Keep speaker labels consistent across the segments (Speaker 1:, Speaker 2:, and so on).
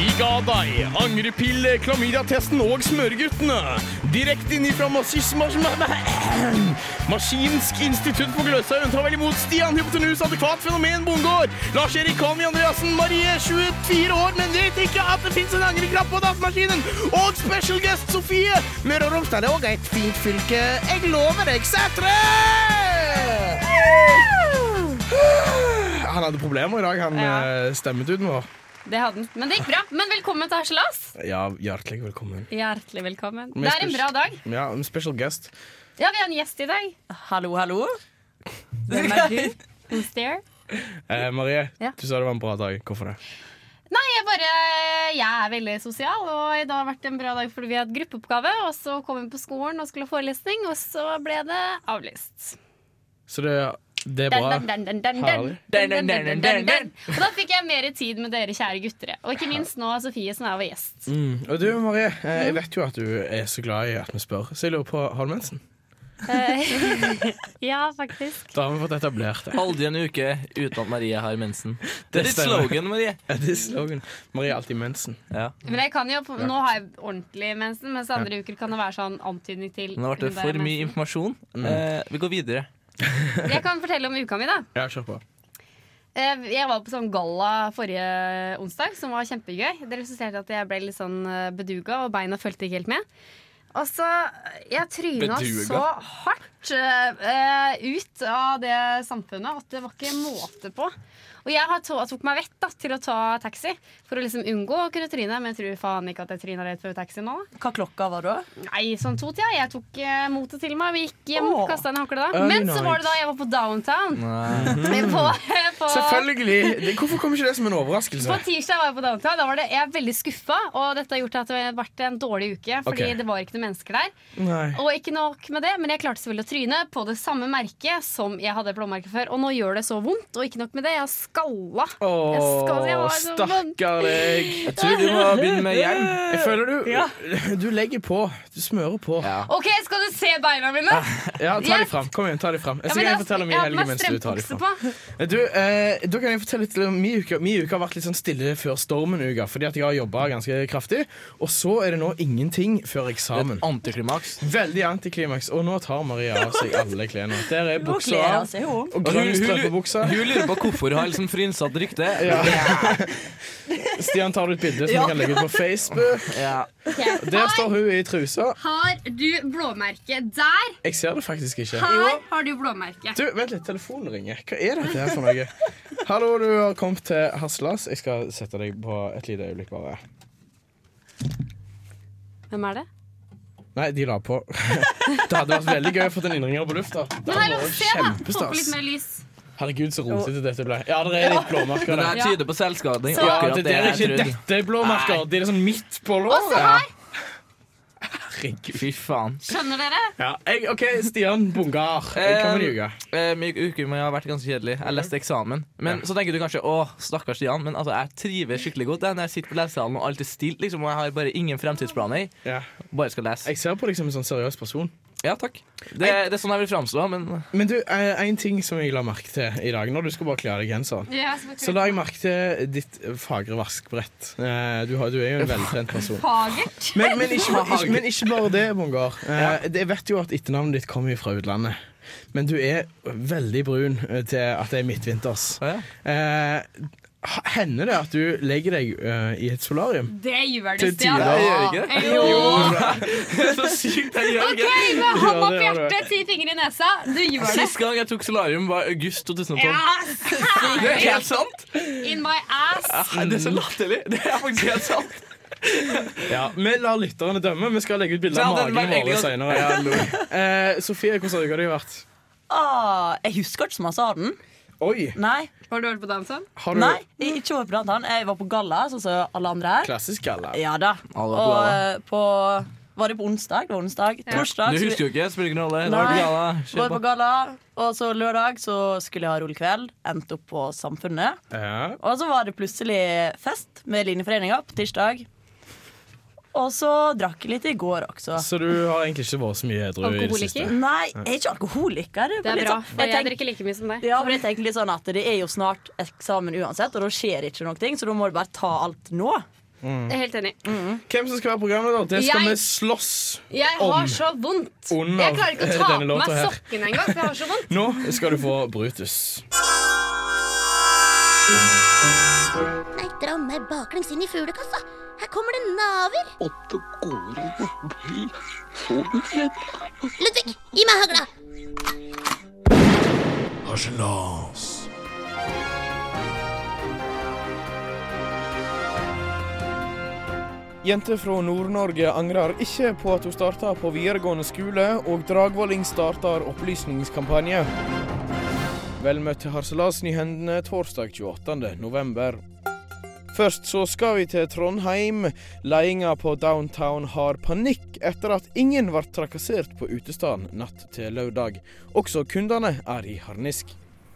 Speaker 1: De ga deg angrepille, klamydiatesten og smøreguttene. Direkte inn ifra massism... mas- ma- Maskinsk institutt på Gløshaugen tar vel imot Stian Hypotenus, adekvat fenomen, bondegård. Lars-Erik Kami Andreassen, Marie, 24 år, men vet ikke at det fins en angrekapp på datamaskinen. Og special guest Sofie. Møre og Romsdal er òg et fint fylke. Jeg lover deg, Sætre! Han hadde problemer i dag, han
Speaker 2: Ja.
Speaker 1: eh, stemmetuden vår.
Speaker 2: Det hadde den. Men det gikk bra. Men velkommen til Harselas.
Speaker 1: Ja, hjertelig velkommen.
Speaker 2: Hjertelig velkommen.
Speaker 1: Med
Speaker 2: Det er en
Speaker 1: spes-
Speaker 2: bra dag.
Speaker 1: Ja, en special guest.
Speaker 2: Ja, vi har en gjest i dag.
Speaker 3: Hallo, hallo.
Speaker 2: Hvem er du? Who's there?
Speaker 1: Eh, Marie,
Speaker 2: Ja.
Speaker 1: du sa det var en bra dag. Hvorfor det?
Speaker 2: Nei, jeg bare Jeg er veldig sosial, og i dag har vært en bra dag fordi vi hadde gruppeoppgave, og så kom vi på skolen og skulle ha forelesning, og så ble det avlyst.
Speaker 1: Så det, det er
Speaker 2: Dun,
Speaker 1: bra.
Speaker 2: dun, dun, dun, dun, dun.
Speaker 1: Herlig.
Speaker 2: Dun, dun, dun, dun, dun, dun. Og da fikk jeg mer tid med dere kjære gutter. Og ikke minst nå Sofie som er vår gjest.
Speaker 1: Mm. Og du, Marie, eh,
Speaker 2: Mm.
Speaker 1: jeg vet jo at du er så glad i at vi spør, så jeg lurer på har du mensen?
Speaker 2: Eh, ja, faktisk.
Speaker 1: Da har vi fått etablert det.
Speaker 4: Aldri en uke uten at Marie har mensen. Det
Speaker 1: Det
Speaker 4: er ditt
Speaker 1: stemmer.
Speaker 4: slogan, Marie.
Speaker 1: Ja, det er slogan. Marie har alltid mensen.
Speaker 4: Ja.
Speaker 2: Men jeg kan jo, Nå har jeg ordentlig mensen, mens andre uker kan det være sånn antydning til
Speaker 4: Nå ble det
Speaker 2: under
Speaker 4: for mye
Speaker 2: mensen.
Speaker 4: informasjon.
Speaker 1: Mm.
Speaker 4: Eh, vi går videre.
Speaker 2: Jeg kan fortelle om uka mi, da.
Speaker 1: Ja, kjør på.
Speaker 2: Eh, Jeg var på sånn galla forrige onsdag, som var kjempegøy. Det resulterte i at jeg ble litt sånn eh, beduga, og beina fulgte ikke helt med. Og så Jeg tryna
Speaker 4: Beduga?
Speaker 2: så hardt eh, eh, ut av det samfunnet at det var ikke måte på. Og jeg har to, tok meg vett da, til å ta taxi for å liksom unngå å kunne tryne. Men jeg tror faen ikke at jeg tryna rett før taxi nå. da.
Speaker 3: Hva klokka var da?
Speaker 2: Nei, sånn to-tida. Jeg tok eh, motet til meg. Vi gikk hjem,
Speaker 3: Åh.
Speaker 2: kasta inn håndkleet da.
Speaker 1: Early
Speaker 2: Men så var det da jeg var på downtown. På, på,
Speaker 1: Selvfølgelig! Det, hvorfor kom ikke det som en overraskelse?
Speaker 2: På tirsdag var jeg på downtown. Da var det, jeg er veldig skuffa. Og dette har gjort at det har vært en dårlig uke, fordi
Speaker 1: Ok.
Speaker 2: det var ikke noen mennesker der.
Speaker 1: Nei.
Speaker 2: Og ikke nok med det, men jeg klarte selvfølgelig å tryne på det samme merket som jeg hadde blåmerke før. Og nå gjør det så vondt. Og ikke nok med det, jeg har skalla. Jeg skal- jeg
Speaker 1: Åh,
Speaker 2: var så vond.
Speaker 1: stakkar deg.
Speaker 4: Jeg tror du må begynne med hjelm.
Speaker 1: Jeg føler du
Speaker 3: Ja.
Speaker 1: Du legger på. Du smører på.
Speaker 4: Ja.
Speaker 2: OK, skal du se beina mine?
Speaker 1: Ja, ta de
Speaker 2: Yes.
Speaker 1: fram. Kom igjen, ta de fram. Ah, Jeg
Speaker 2: Ja,
Speaker 1: skal
Speaker 2: men
Speaker 1: gjerne
Speaker 2: jeg-
Speaker 1: fortelle om min
Speaker 2: jeg har
Speaker 1: helg
Speaker 2: på meg
Speaker 1: mens du tar de
Speaker 2: strømpukse
Speaker 1: fram.
Speaker 2: på.
Speaker 1: Du, eh, da kan jeg fortelle litt om min uke. Min uke har vært litt sånn stille før stormen-uka, fordi at jeg har jobba ganske kraftig. Og så er det nå ingenting før eksamen.
Speaker 4: Antiklimaks.
Speaker 1: Veldig antiklimaks. Og nå tar Maria av seg alle klærne. Der er
Speaker 3: Nå
Speaker 1: buksa
Speaker 3: kler hun
Speaker 1: av.
Speaker 3: seg jo om.
Speaker 1: Og
Speaker 4: hun,
Speaker 1: grønn
Speaker 4: hun,
Speaker 1: strømpebukse.
Speaker 4: hun lurer på hvorfor hun har liksom frynset rykte.
Speaker 1: Ja. Stian tar ut bilde som
Speaker 3: Ja.
Speaker 1: vi kan legge ut på Facebook.
Speaker 4: Ja.
Speaker 2: Ok.
Speaker 1: Der står hun i trusa.
Speaker 2: Har du blåmerke der?
Speaker 1: Jeg ser det faktisk ikke.
Speaker 2: Her har du blåmerke.
Speaker 1: Du, vent litt, telefonen ringer. Hva er dette her for noe? Hallo, du har kommet til Haslas. Jeg skal sette deg på et lite øyeblikk, bare.
Speaker 2: Hvem er det?
Speaker 1: Nei, de la på. det hadde vært veldig gøy å få en innringer på lufta. Det
Speaker 2: Men det er
Speaker 1: hadde
Speaker 2: lov å
Speaker 1: vært
Speaker 2: se, da. Få på
Speaker 1: kjempestas.
Speaker 2: litt mer lys.
Speaker 1: Herregud, så rotete dette ble. Ja, det er litt blåmerker
Speaker 4: Men det
Speaker 1: der.
Speaker 4: her tyder på selvskading.
Speaker 2: Så-
Speaker 1: Ja,
Speaker 4: Akkurat
Speaker 1: det der er ikke
Speaker 4: jeg trodde.
Speaker 1: dette er blåmerker. Det er sånn midt på
Speaker 2: Og så
Speaker 1: låret.
Speaker 2: her.
Speaker 1: Herregud.
Speaker 4: Fy faen.
Speaker 2: Skjønner dere?
Speaker 1: Ja, jeg, OK, Stian Bungar. Jeg kan vel ljuge.
Speaker 4: Eh, min uke må ha vært ganske kjedelig. Jeg leste eksamen. Men så tenker du kanskje å, stakkars Stian, men altså, jeg trives skikkelig godt jeg, når jeg sitter på lesesalen og alt er stilt, liksom, og jeg har bare ingen fremtidsplaner.
Speaker 1: Ja.
Speaker 4: Bare skal lese.
Speaker 1: Jeg ser på deg som en sånn seriøs person.
Speaker 4: Ja, takk. Det, det er sånn jeg vil framstå, men
Speaker 1: Men du, én ting som jeg la merke til i dag, når du skulle bare kle av deg genseren.
Speaker 2: Ja,
Speaker 1: Så la jeg merke til ditt fagre vaskbrett. Eh, Du, har, du er jo en veltrent person.
Speaker 2: Fagert.
Speaker 1: Men, men, ikke, bare- ikke, men ikke bare det, Bongar. Eh, det- jeg vet jo at etternavnet ditt kommer fra utlandet. Men du er veldig brun eh, til at det er midtvinters.
Speaker 4: Å, ja.
Speaker 1: Eh, h- hender det at du legger deg eh, i et solarium?
Speaker 2: Det gjør du,
Speaker 1: Til
Speaker 2: Stian.
Speaker 1: tider.
Speaker 4: Jeg gjør ikke
Speaker 2: Jo.
Speaker 4: Så sykt jeg gjør
Speaker 2: OK,
Speaker 4: ikke.
Speaker 2: med hånda på
Speaker 1: det gjør du.
Speaker 2: hjertet, ti fingre i nesa. Du gjør det.
Speaker 4: Sist gang jeg tok solarium, var august 2012.
Speaker 2: Yes!
Speaker 4: Det er helt sant!
Speaker 2: In my ass.
Speaker 4: Nei, det er så latterlig. Det er faktisk helt sant.
Speaker 1: Ja, Vi lar lytterne dømme. Vi skal legge ut bilder av
Speaker 4: Ja, den var
Speaker 1: magene våre
Speaker 4: egentlig-
Speaker 1: senere. Eh, Sofie, hvordan har uka di vært?
Speaker 3: Ah, jeg husker ikke så masse av den.
Speaker 1: Oi!
Speaker 3: Nei,
Speaker 2: Har du vært på dansen?
Speaker 1: Har du
Speaker 3: nei jeg, ikke var på blant annet. Jeg var på galla, sånn som alle andre her.
Speaker 1: klassisk galla?
Speaker 3: Ja da.
Speaker 4: var på
Speaker 3: Og
Speaker 4: galla.
Speaker 3: eh, på Var det på onsdag? Det var onsdag. Torsdag
Speaker 4: Du
Speaker 3: skulle-
Speaker 4: husker jo ikke. Spiller ingen rolle.
Speaker 3: Nei.
Speaker 4: Det var på gala.
Speaker 3: var på galla. Og så lørdag så skulle jeg ha rolig kveld. Endte opp på Samfunnet.
Speaker 1: Ja.
Speaker 3: Og så var det plutselig fest med Linjeforeninga på tirsdag. Og så drakk jeg litt i går også.
Speaker 1: Så du har egentlig ikke vært så mye edru i det siste?
Speaker 2: Alkoholiker?
Speaker 3: Nei, jeg er ikke alkoholiker.
Speaker 2: Det
Speaker 3: men
Speaker 2: er
Speaker 3: litt
Speaker 2: bra,
Speaker 3: sånn-
Speaker 2: for jeg
Speaker 3: tenker-
Speaker 2: drikker like mye som deg.
Speaker 3: Ja, for jeg tenker litt sånn at Det er jo snart eksamen uansett, og da skjer det ikke noe. Så da må du bare ta alt nå.
Speaker 2: Jeg er helt enig.
Speaker 1: Mm. Hvem som skal være programleder, det skal
Speaker 2: Jeg-
Speaker 1: vi slåss
Speaker 2: Jeg
Speaker 1: om.
Speaker 2: har så vondt.
Speaker 1: Under
Speaker 2: Jeg klarer ikke å ta
Speaker 1: denne
Speaker 2: på
Speaker 1: låta
Speaker 2: meg
Speaker 1: her.
Speaker 2: sokkene engang, for jeg har så vondt.
Speaker 1: Nå skal du få Brutus.
Speaker 5: Nei, dra meg baklengs inn i fuglekassa. Her kommer det naver.
Speaker 6: Åtte går ikke forbi. Så du redd?
Speaker 5: Ludvig, gi meg hagla.
Speaker 7: Harselas.
Speaker 1: Jenter fra Nord-Norge angrer ikke på at hun starta på videregående skole, og Dragvolling starter opplysningskampanje. Vel møtt til Harselasen i hendene torsdag 28. november. Først så skal vi til Trondheim. Ledelsen på Downtown har panikk etter at ingen ble trakassert på utestedet natt til lørdag. Også kundene er i harnisk.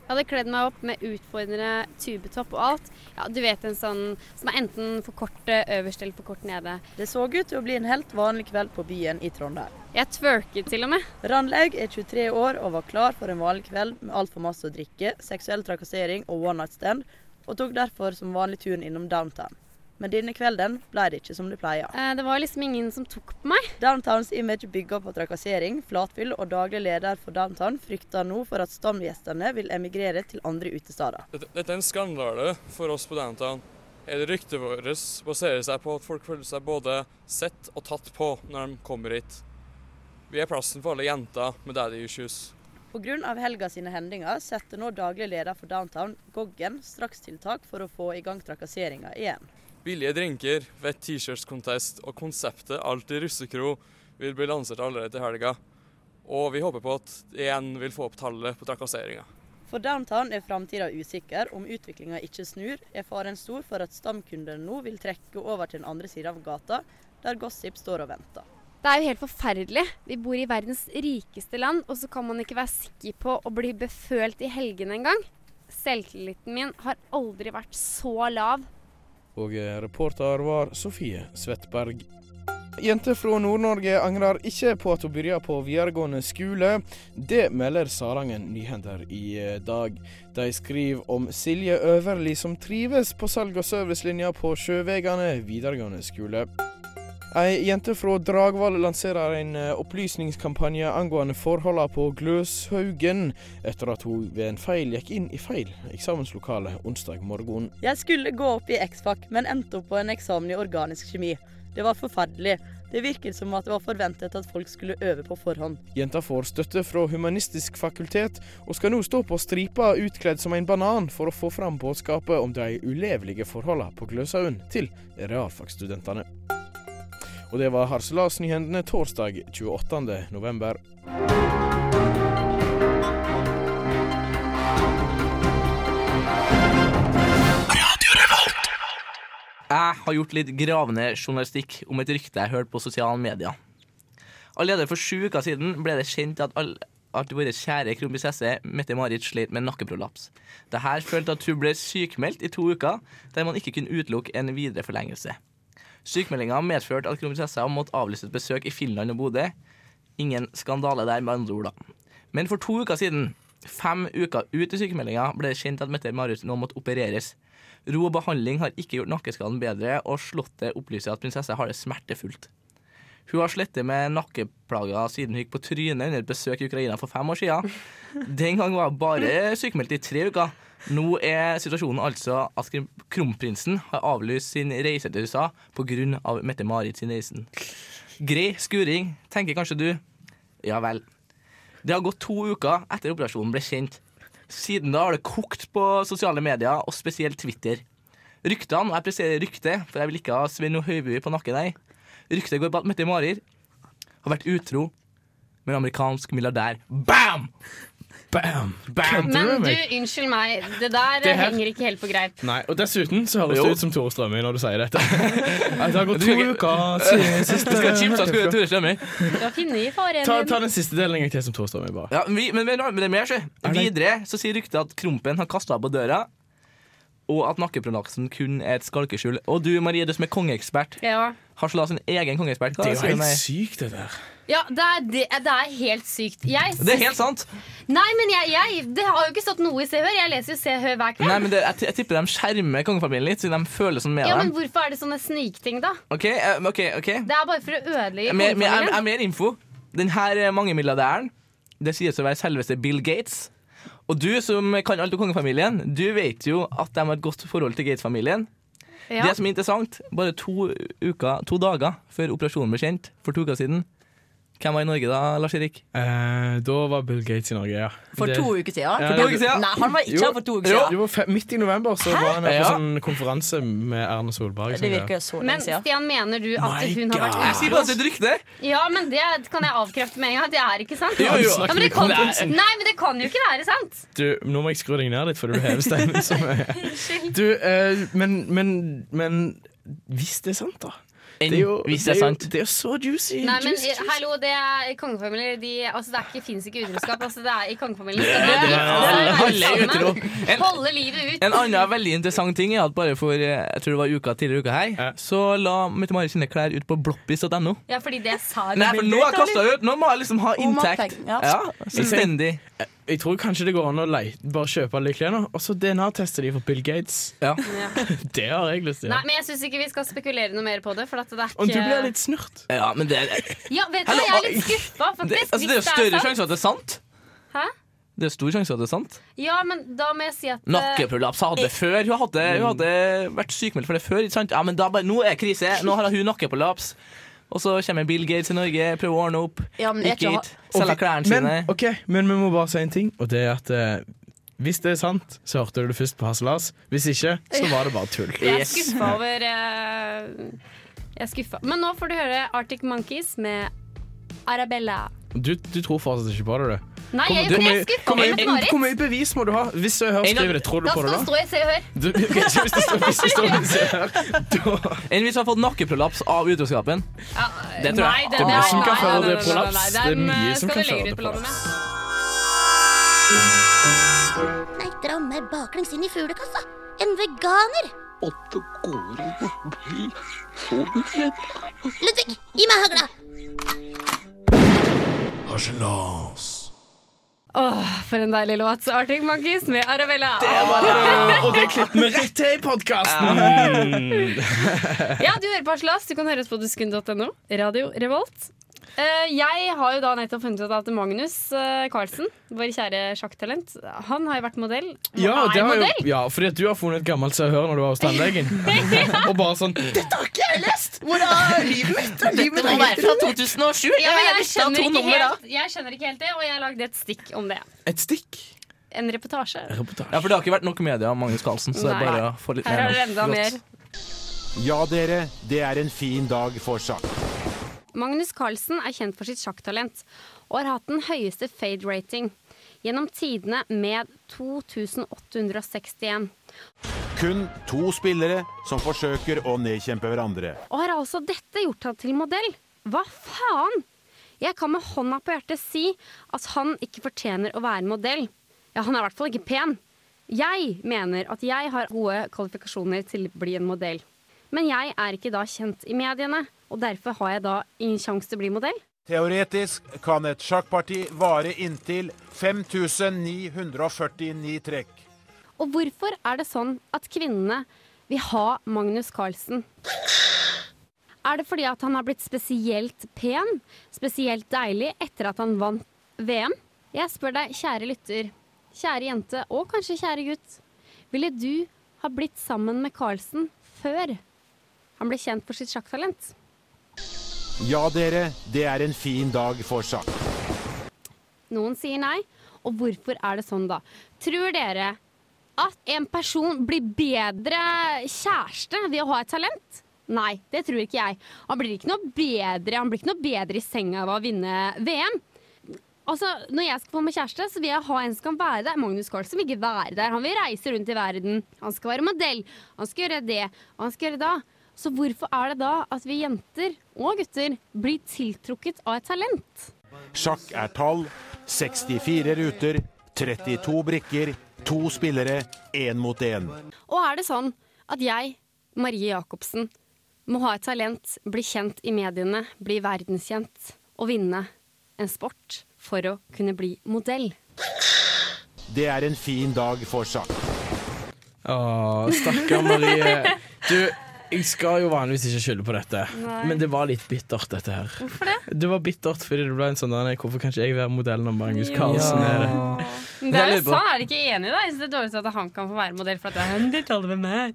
Speaker 2: Jeg hadde kledd meg opp med utfordrende tubetopp og alt. Ja, du vet en sånn som er enten for kort eh, øverst eller for kort nede.
Speaker 3: Det så ut til å bli en helt vanlig kveld på byen i Trondheim.
Speaker 2: Jeg twerket til og med.
Speaker 3: Randlaug er 23 år og var klar for en vanlig kveld med altfor masse å drikke, seksuell trakassering og one night stand, og tok derfor som vanlig turen innom downtown. Men denne kvelden ble det ikke som det pleier.
Speaker 2: Eh, Det var liksom ingen som tok på meg.
Speaker 3: Downtowns image bygger på trakassering, flatfyll, og daglig leder for Downtown frykter nå for at stamgjestene vil emigrere til andre utesteder.
Speaker 8: Dette, dette er en skandale for oss på Downtown. Hele ryktet vårt baserer seg på at folk føler seg både sett og tatt på når de kommer hit. Vi er plassen for alle jenter med daddy issues.
Speaker 3: Pga. helga sine hendinger setter nå daglig leder for Downtown, Goggen, strakstiltak for å få i gang trakasseringa igjen.
Speaker 8: Billige drinker, fett T-shirts-contest og konseptet Alltid russekro vil bli lansert allerede til helga. Og vi håper på at det igjen vil få opp tallet på trakasseringa.
Speaker 3: For Downtown er framtida usikker. Om utviklinga ikke snur, er faren stor for at stamkundene nå vil trekke over til den andre sida av gata, der gossip står og venter.
Speaker 2: Det er jo helt forferdelig. Vi bor i verdens rikeste land, og så kan man ikke være sikker på å bli befølt i helgene engang. Selvtilliten min har aldri vært så lav.
Speaker 1: Og eh, reporter var Sofie Svettberg. Jenter fra Nord-Norge angrer ikke på at hun begynte på videregående skole. Det melder Salangen Nyhender i eh, dag. De skriver om Silje Øverli som trives på salg- og servicelinja på Sjøvegane videregående skole. Ei jente fra Dragvoll lanserer en eh, opplysningskampanje angående forholdene på Gløshaugen, etter at hun ved en feil gikk inn i feil eksamenslokale onsdag morgen.
Speaker 3: Jeg skulle gå opp i X-fac, men endte opp på en eksamen i organisk kjemi. Det var forferdelig. Det virket som at det var forventet at folk skulle øve på forhånd.
Speaker 1: Jenta får støtte fra Humanistisk fakultet, og skal nå stå på stripa utkledd som en banan for å få fram budskapet om de ulevelige forholdene på Gløshaugen til realfagsstudentene. Og det var Harselasnyhendene torsdag 28. november.
Speaker 4: Jeg har gjort litt gravende journalistikk om et rykte jeg hørte på sosiale medier. Allerede for sju uker siden ble det kjent at, all, at vår kjære kronprinsesse Mette-Marit slet med nakkeprolaps. Dette følte at hun ble sykmeldt i to uker, der man ikke kunne utelukke en videre forlengelse. Sykmeldinga medførte at kronprinsessa måtte avlyse et besøk i Finland og Bodø. Ingen skandale der, med andre ord, da. Men for to uker siden, fem uker ut i sykemeldinga, ble det kjent at Mette-Marit nå måtte opereres. Ro og behandling har ikke gjort nakkeskaden bedre, og Slottet opplyser at prinsessa har det smertefullt. Hun har slettet med nakkeplager siden hun gikk på trynet under et besøk i Ukraina for fem år siden. Den gang var hun bare sykemeldt i tre uker. Nå er situasjonen altså at krim- kronprinsen har avlyst sin reise til USA pga. Mette-Marit sin reisen. Grei skuring, tenker kanskje du. Ja vel. Det har gått to uker etter operasjonen ble kjent. Siden da har det kokt på sosiale medier, og spesielt Twitter. Ryktene, og jeg presiserer ryktet, for jeg vil ikke ha Svein O. Høiby på nakken, nei. Ryktet går på at Mette-Marit har vært utro med en amerikansk milliardær. Bam!
Speaker 1: Bam!
Speaker 4: Bam!
Speaker 2: Men du, unnskyld meg, det der
Speaker 1: Det her-
Speaker 2: henger ikke helt på greip.
Speaker 1: Nei, og dessuten så høres
Speaker 4: Jo.
Speaker 1: det ut som Tore Strømøy når du sier dette. det har gått
Speaker 4: Du
Speaker 1: to
Speaker 4: skal ikke-
Speaker 1: uker siden
Speaker 4: Du skal
Speaker 1: siste
Speaker 4: chipse, skal du Tore Strømøy?
Speaker 2: Du har funnet i faren
Speaker 1: ta,
Speaker 2: din.
Speaker 1: ta den siste delen en gang til som Tore Strømøy, bare.
Speaker 4: Ja, vi, men, men, men det er mer, sjø. Videre så sier ryktet at krompen har kasta på døra, og at nakkeprolaksen kun er et skalkeskjul. Og du, Marie, du som er kongeekspert,
Speaker 2: Ja,
Speaker 4: har slått sin egen kongespert. Hva
Speaker 1: Det er jo
Speaker 4: sier du,
Speaker 1: helt
Speaker 4: nei?
Speaker 1: sykt, det der.
Speaker 2: Ja, det er, det, det er helt sykt. Jeg,
Speaker 4: Det er helt sant!
Speaker 2: Nei, men jeg, jeg Det har jo ikke stått noe i Se og Hør. Jeg leser jo Se og Hør hver kveld.
Speaker 4: Nei, men det, jeg, t- jeg tipper de skjermer kongefamilien litt, siden de føler sånn med
Speaker 2: ja, men
Speaker 4: dem.
Speaker 2: hvorfor er det sånne snikting, da?
Speaker 4: Ok, eh, ok, ok.
Speaker 2: Det er bare for å ødelegge
Speaker 4: Mer, mer, er,
Speaker 2: kongefamilien.
Speaker 4: er mer info. Denne mangemilliardæren Det sies å være selveste Bill Gates. Og du som kan alt om kongefamilien, du vet jo at de har et godt forhold til Gates-familien.
Speaker 2: Ja.
Speaker 4: Det som er interessant, bare to, uker, to dager før operasjonen ble kjent, for to uker siden Hvem var i Norge da, Lars Erik?
Speaker 1: Eh, da var Bill Gates i Norge, ja.
Speaker 7: For
Speaker 1: Det-
Speaker 7: to uker siden.
Speaker 1: For to
Speaker 4: uker siden.
Speaker 7: Nei, han var ikke her for to uker
Speaker 1: Jo,
Speaker 7: siden.
Speaker 1: det var fe- midt i november så var han her på
Speaker 4: Ja.
Speaker 1: sånn konferanse med Erna Solberg.
Speaker 7: Det
Speaker 1: sånn, ja.
Speaker 7: virker så
Speaker 2: Men
Speaker 7: lenge siden.
Speaker 2: Stian, mener du at
Speaker 1: My
Speaker 2: hun har vært
Speaker 1: God.
Speaker 4: Jeg sier bare at det er et rykte!
Speaker 2: Ja, men det kan jeg avkrefte med en gang. at Det er ikke sant.
Speaker 1: Jo, jo.
Speaker 2: Ja, men det kan, nei, men det kan jo ikke være sant!
Speaker 1: Du, nå må jeg skru deg ned litt, for du hever stemmen så mye. Du, eh, men, men, men hvis det er sant, da?
Speaker 4: Enn hvis det
Speaker 1: det
Speaker 4: er
Speaker 1: jo-
Speaker 4: sant.
Speaker 1: Det er jo så juicy.
Speaker 2: Nei, men
Speaker 1: juicy, juicy.
Speaker 2: hallo, det er kongefamilier de, altså, Det er ikke, finnes ikke utroskap. Altså, det er i kongefamilien.
Speaker 4: det er- alle er utro. En-
Speaker 2: Holde livet ut.
Speaker 4: En annen veldig interessant ting er at bare for eh, jeg tror det var uka tidligere uka
Speaker 1: Ja.
Speaker 4: her, så la Mette-Marit sine klær ut på bloppis.no.
Speaker 2: Ja, fordi det sa
Speaker 4: Nei, for nå har jeg kastet ut! Nå må jeg liksom ha
Speaker 7: Om
Speaker 4: inntekt.
Speaker 7: opptak, ja.
Speaker 4: Ja, Selvstendig.
Speaker 1: Jeg tror kanskje det går an å leite, bare kjøpe alle de klærne, og så DNA-teste de for Bill Gates.
Speaker 4: Ja.
Speaker 1: Det har jeg lyst til.
Speaker 2: Nei, men jeg syns ikke vi skal spekulere noe mer på det. For at det er ikke
Speaker 1: Om du blir litt snurt.
Speaker 4: ja, men det er
Speaker 2: Ja, vet du,
Speaker 4: Hallo,
Speaker 2: hva, jeg er litt skuffa, faktisk.
Speaker 4: Det, altså, det er jo
Speaker 2: hvis
Speaker 4: større
Speaker 2: sant.
Speaker 4: sjanse for at det er sant.
Speaker 2: Hæ?
Speaker 4: Det er stor sjanse for at det er sant.
Speaker 2: Ja, men da må jeg si at eh,
Speaker 4: Nakkeprolaps hadde det før. Hun hadde, hun hadde vært sykemeldt for det før. Ikke sant? Ja, men da bare, nå er det krise. Nå har hun nakkeprolaps. Og så kommer Bill Gates til Norge, prøver å ordne opp.
Speaker 7: Ja, men jeg
Speaker 4: Ikke
Speaker 7: tror-
Speaker 4: hit. Selger klærne sine.
Speaker 1: Men, ok, men vi må bare si en ting, og det er at eh, hvis det er sant, så hørte du det først på Hasselas. Hvis ikke, så var det bare tull.
Speaker 2: Jeg er
Speaker 4: Yes.
Speaker 2: skuffa over eh, Jeg er skuffa. Men nå får du høre Arctic Monkeys med Arabella.
Speaker 1: Du, du tror fortsatt ikke på det, du.
Speaker 2: Nei,
Speaker 1: Kom-
Speaker 2: jeg,
Speaker 1: du-
Speaker 2: jeg,
Speaker 1: hvor
Speaker 2: jeg
Speaker 1: mye-
Speaker 2: er skuffa
Speaker 1: Hvor
Speaker 2: over
Speaker 1: mye-
Speaker 2: Mette-Marit.
Speaker 1: hvor mye bevis må du ha? Hvis jeg hører
Speaker 4: En gang-
Speaker 1: skriver det, tror du
Speaker 2: Da
Speaker 1: på
Speaker 2: skal
Speaker 1: det
Speaker 2: det
Speaker 1: da?
Speaker 2: stå i Se og Hør.
Speaker 1: Du, ok, så hvis det står hvis det står hvis jeg hører, da
Speaker 4: Enn hvis hun har fått nakkeprolaps av utroskapen. Det tror jeg.
Speaker 1: Det er mye som kan føre til prolaps. Det er
Speaker 2: dem,
Speaker 1: mye
Speaker 2: eh,
Speaker 1: som kan
Speaker 2: skal du
Speaker 1: føre til
Speaker 2: legge ut på landet
Speaker 1: prolaps.
Speaker 2: med.
Speaker 5: Nei, dra meg baklengs inn i fuglekassa. En veganer!
Speaker 6: Måtte gården bli så uredd.
Speaker 5: Ludvig, gi meg hagla!
Speaker 2: Åh, for en deilig låt. Så Arctic Monkeys med Arabella.
Speaker 1: Og det klipper vi rett til i podkasten!
Speaker 2: Ja, du hører på Aslas. Du kan høre oss på dusken.no. Radio Revolt. Eh, jeg har jo da nettopp funnet ut at Magnus uh, Carlsen, vår kjære sjakktalent, han har jo vært modell. Og
Speaker 1: Ja,
Speaker 2: er
Speaker 1: det har jo,
Speaker 2: modell.
Speaker 1: ja, fordi at du har funnet et gammelt Se og Hør når du var hos tannlegen. Og bare sånn Dette har ikke jeg lest! Hvor er livet mitt?
Speaker 7: Det må være fra 2007.
Speaker 2: Ja, men jeg,
Speaker 7: visste av
Speaker 2: skjønner
Speaker 7: to
Speaker 2: ikke
Speaker 7: nummer da.
Speaker 2: helt, jeg skjønner ikke helt det, og jeg lagde et stikk om det.
Speaker 1: Et stikk?
Speaker 2: En reportasje.
Speaker 4: Ja, for det har ikke vært nok media om Magnus Carlsen. Så det er
Speaker 2: Nei.
Speaker 4: bare å få litt
Speaker 2: Her er det
Speaker 4: mer.
Speaker 2: enda mer.
Speaker 9: Ja, dere, det er en fin dag for sjakk.
Speaker 2: Magnus Carlsen er kjent for sitt sjakktalent og har hatt den høyeste fade-rating gjennom tidene med 2861.
Speaker 9: Kun to spillere som forsøker å nedkjempe hverandre.
Speaker 2: Og har altså dette gjort han til modell? Hva faen? Jeg kan med hånda på hjertet si at han ikke fortjener å være modell. Ja, han er i hvert fall ikke pen. Jeg mener at jeg har gode kvalifikasjoner til å bli en modell. Men jeg er ikke da kjent i mediene, og derfor har jeg da ingen sjanse til å bli modell.
Speaker 9: Teoretisk kan et sjakkparti vare inntil 5949 trekk.
Speaker 2: Og hvorfor er det sånn at kvinnene vil ha Magnus Carlsen? Er det fordi at han har blitt spesielt pen, spesielt deilig, etter at han vant VM? Jeg spør deg, kjære lytter, kjære jente og kanskje kjære gutt. Ville du ha blitt sammen med Carlsen før han ble kjent for sitt sjakktalent?
Speaker 9: Ja, dere, det er en fin dag for sjakk.
Speaker 2: Noen sier nei. Og hvorfor er det sånn, da? Tror dere at en person blir bedre kjæreste ved å ha et talent? Nei, det tror ikke jeg. Han blir ikke noe bedre, han blir ikke noe bedre i senga av å vinne VM. Altså, Når jeg skal få meg kjæreste, så vil jeg ha en som kan være der. Magnus Carlsen vil ikke være der. Han vil reise rundt i verden. Han skal være modell. Han skal gjøre det, og han skal gjøre det da. Så hvorfor er det da at vi jenter og gutter blir tiltrukket av et talent?
Speaker 9: Sjakk er tall. 64 ruter, 32 brikker, to spillere, én mot én.
Speaker 2: Og er det sånn at jeg, Marie Jacobsen, Må ha et talent, bli kjent i mediene, bli verdenskjent og vinne en sport for å kunne bli modell.
Speaker 10: Det er en fin dag for sjakk.
Speaker 1: Åh, stakkar Marie. Du, jeg skal jo vanligvis ikke skylde på dette,
Speaker 2: Nei.
Speaker 1: men det var litt bittert, dette her.
Speaker 2: Hvorfor det?
Speaker 1: Det var bittert fordi det ble en sånn nei, Hvorfor kan ikke jeg være modell når Magnus Carlsen er det?
Speaker 2: Men det er jo sånn, er du ikke enig i det? Jeg synes det er dårlig at han kan få være modell for at det er han detaljer med meg.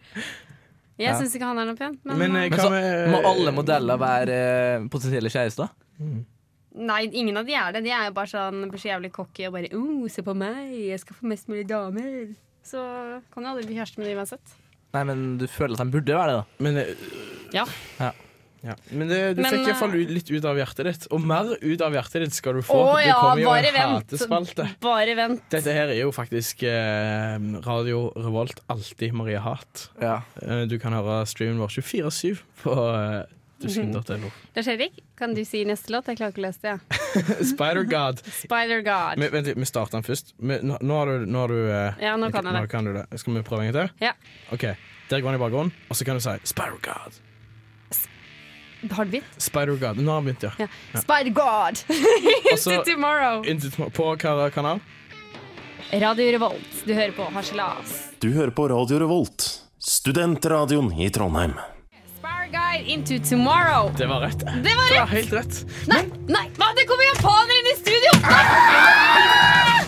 Speaker 2: Jeg
Speaker 4: Ja.
Speaker 2: syns ikke han er noe pen. Men,
Speaker 1: Men, eh,
Speaker 4: Men
Speaker 1: hva
Speaker 4: så
Speaker 1: med-
Speaker 4: må alle modeller være eh, potensielle kjærester.
Speaker 2: nei, ingen av de er det. De er jo bare sånn, blir så jævlig cocky og bare oh, 'Se på meg, jeg skal få mest mulig damer'. Så kan jo aldri bli kjæreste med de uansett.
Speaker 4: Nei, men du føler at de burde være det, da.
Speaker 1: Men, eh,
Speaker 2: Ja.
Speaker 1: ja. men det, du
Speaker 2: Men,
Speaker 1: fikk iallfall
Speaker 2: eh,
Speaker 1: litt ut av hjertet ditt. Og mer ut av hjertet ditt skal du få.
Speaker 2: Å
Speaker 1: du
Speaker 2: ja,
Speaker 1: kommer jo i
Speaker 2: bare
Speaker 1: en
Speaker 2: vent.
Speaker 1: hatespalte.
Speaker 2: Bare vent.
Speaker 1: Dette her er jo faktisk eh, Radio Revolt alltid Marie Hat.
Speaker 4: Ja.
Speaker 1: Eh, du kan høre streamen vår 24-7 på eh, dusken.no.
Speaker 2: Lars Erik, kan du si neste låt? Jeg klarer ikke å lese det. jeg.
Speaker 1: Spider-God.
Speaker 2: Spider God.
Speaker 1: Men, vent litt, vi starter den først. Men nå, nå har du, nå har du eh,
Speaker 2: Ja, nå kan jeg det.
Speaker 1: du det. Skal vi prøve en gang til?
Speaker 2: Ja.
Speaker 1: OK. Der går den i bakgrunnen, og så kan du si Spider-God.
Speaker 2: Har du begynt?
Speaker 1: Spider-God. Nå har den begynt, ja.
Speaker 2: Ja. Spider God!
Speaker 1: Altså,
Speaker 2: Til tomorrow.
Speaker 1: inntil tom- på hvilken kanal?
Speaker 2: Radio Revolt, du hører på Harselas.
Speaker 9: Du hører på Radio Revolt, studentradioen i Trondheim.
Speaker 2: Spider Guide into tomorrow.
Speaker 1: Det var rett.
Speaker 2: Det var rett!
Speaker 1: Helt rett.
Speaker 2: Nei, nei, hva? Det kommer japanere inn i studio! Nei!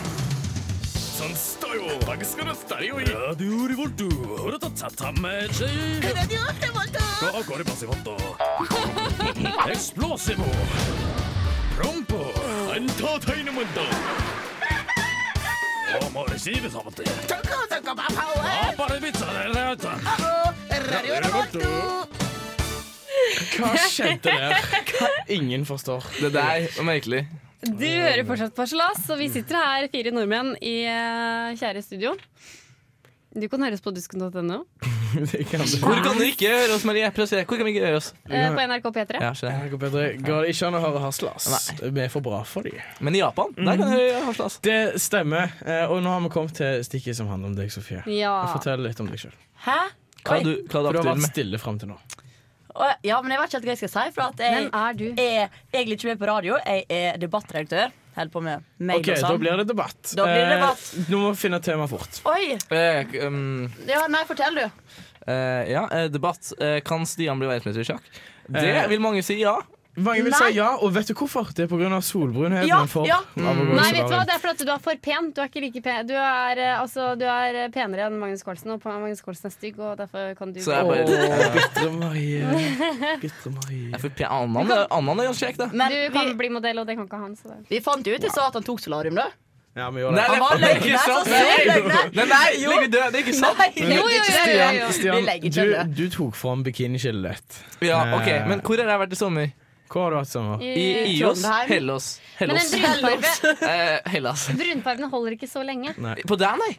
Speaker 1: Hva skjedde der? Hva ingen forstår.
Speaker 4: Det der var merkelig.
Speaker 2: Du hører fortsatt på Harselas, og vi sitter her, fire nordmenn, i eh, kjære studio. Du kan høre oss på dusken.no.
Speaker 1: Det kan du.
Speaker 4: Hvor kan vi ikke høre oss, Marie? Prøv å se. Hvor kan vi ikke høre oss?
Speaker 2: eh, På NRK P3.
Speaker 4: Ja, skjønner.
Speaker 1: Går bedre. Går det ikke an å høre Haslas? Vi er for bra for dem.
Speaker 4: Men i Japan, der kan du høre Haslas.
Speaker 1: Det stemmer. Eh, Og nå har vi kommet til stikket som handler om deg, Sofie.
Speaker 3: Ja.
Speaker 1: Fortell litt om deg sjøl.
Speaker 3: Hæ?
Speaker 4: Hva er du,
Speaker 1: For du
Speaker 4: hva er du
Speaker 1: har
Speaker 4: aktuell
Speaker 1: vært
Speaker 4: med?
Speaker 1: stille fram til nå.
Speaker 3: Å, Ja, men jeg vet ikke helt hva jeg skal si. For at
Speaker 2: Hvem
Speaker 3: jeg
Speaker 2: er du?
Speaker 3: er egentlig ikke med på radio. Jeg er debattredaktør. Holder på med mail
Speaker 1: OK,
Speaker 3: og
Speaker 1: da
Speaker 3: sånn.
Speaker 1: blir det debatt.
Speaker 3: Da blir det
Speaker 1: Eh,
Speaker 3: debatt.
Speaker 1: Nå må vi finne et tema fort.
Speaker 3: Oi!
Speaker 4: Eh, k- um,
Speaker 3: Ja, nei, fortell, du.
Speaker 4: eh, ja, eh, debatt. Eh, kan Stian bli verdensmester i sjakk? Det
Speaker 1: Eh,
Speaker 4: vil mange si ja.
Speaker 1: Mange vil
Speaker 3: Nei.
Speaker 1: si ja, og vet du hvorfor? Det er pga. solbrunheten
Speaker 3: Ja,
Speaker 1: man får.
Speaker 3: ja.
Speaker 1: av å gå i
Speaker 2: Nei, vet du hva?
Speaker 1: solarium.
Speaker 2: Det er fordi du er for pen. Du er ikke like pen. Du er, eh, altså, du er eh, penere enn Magnus Carlsen, og Magnus Carlsen er stygg, og derfor kan du
Speaker 4: Så jeg bare
Speaker 1: Åh, bitre Marie. Bitre Marie.
Speaker 4: Jeg får pe- Annan eh, annan er ganske kjekk, da.
Speaker 3: Men
Speaker 2: Du
Speaker 3: vi,
Speaker 2: kan bli modell, og det kan ikke han. Så det.
Speaker 3: vi fant jo ut i stad at han tok solarium, da.
Speaker 1: Ja, vi gjør
Speaker 4: Nei,
Speaker 1: det.
Speaker 4: det
Speaker 3: Han var
Speaker 4: det er
Speaker 3: løgner,
Speaker 4: ikke sant!
Speaker 3: så
Speaker 4: Nei,
Speaker 3: sykt løgner.
Speaker 4: nei, nei, ligger død. Det er ikke sant.
Speaker 3: Nei, jeg legger
Speaker 2: Jo, jo,
Speaker 3: ikke
Speaker 2: jo,
Speaker 3: til.
Speaker 2: jo, jo.
Speaker 3: Vi
Speaker 1: Stian,
Speaker 3: legger ikke
Speaker 1: du,
Speaker 3: det.
Speaker 1: du tok fram bikiniskillet ditt.
Speaker 4: Ja, ok,
Speaker 1: Eh,
Speaker 4: Men hvor har jeg vært i sommer?
Speaker 1: Hva har du hatt sommer?
Speaker 4: I
Speaker 2: I-
Speaker 4: Ios?
Speaker 3: Trondheim.
Speaker 4: Hellos?
Speaker 2: Men den
Speaker 4: Hellos?
Speaker 2: brunfarge,
Speaker 4: Eh, Hellas.
Speaker 2: brunfargen holder ikke så lenge.
Speaker 4: På deg, nei?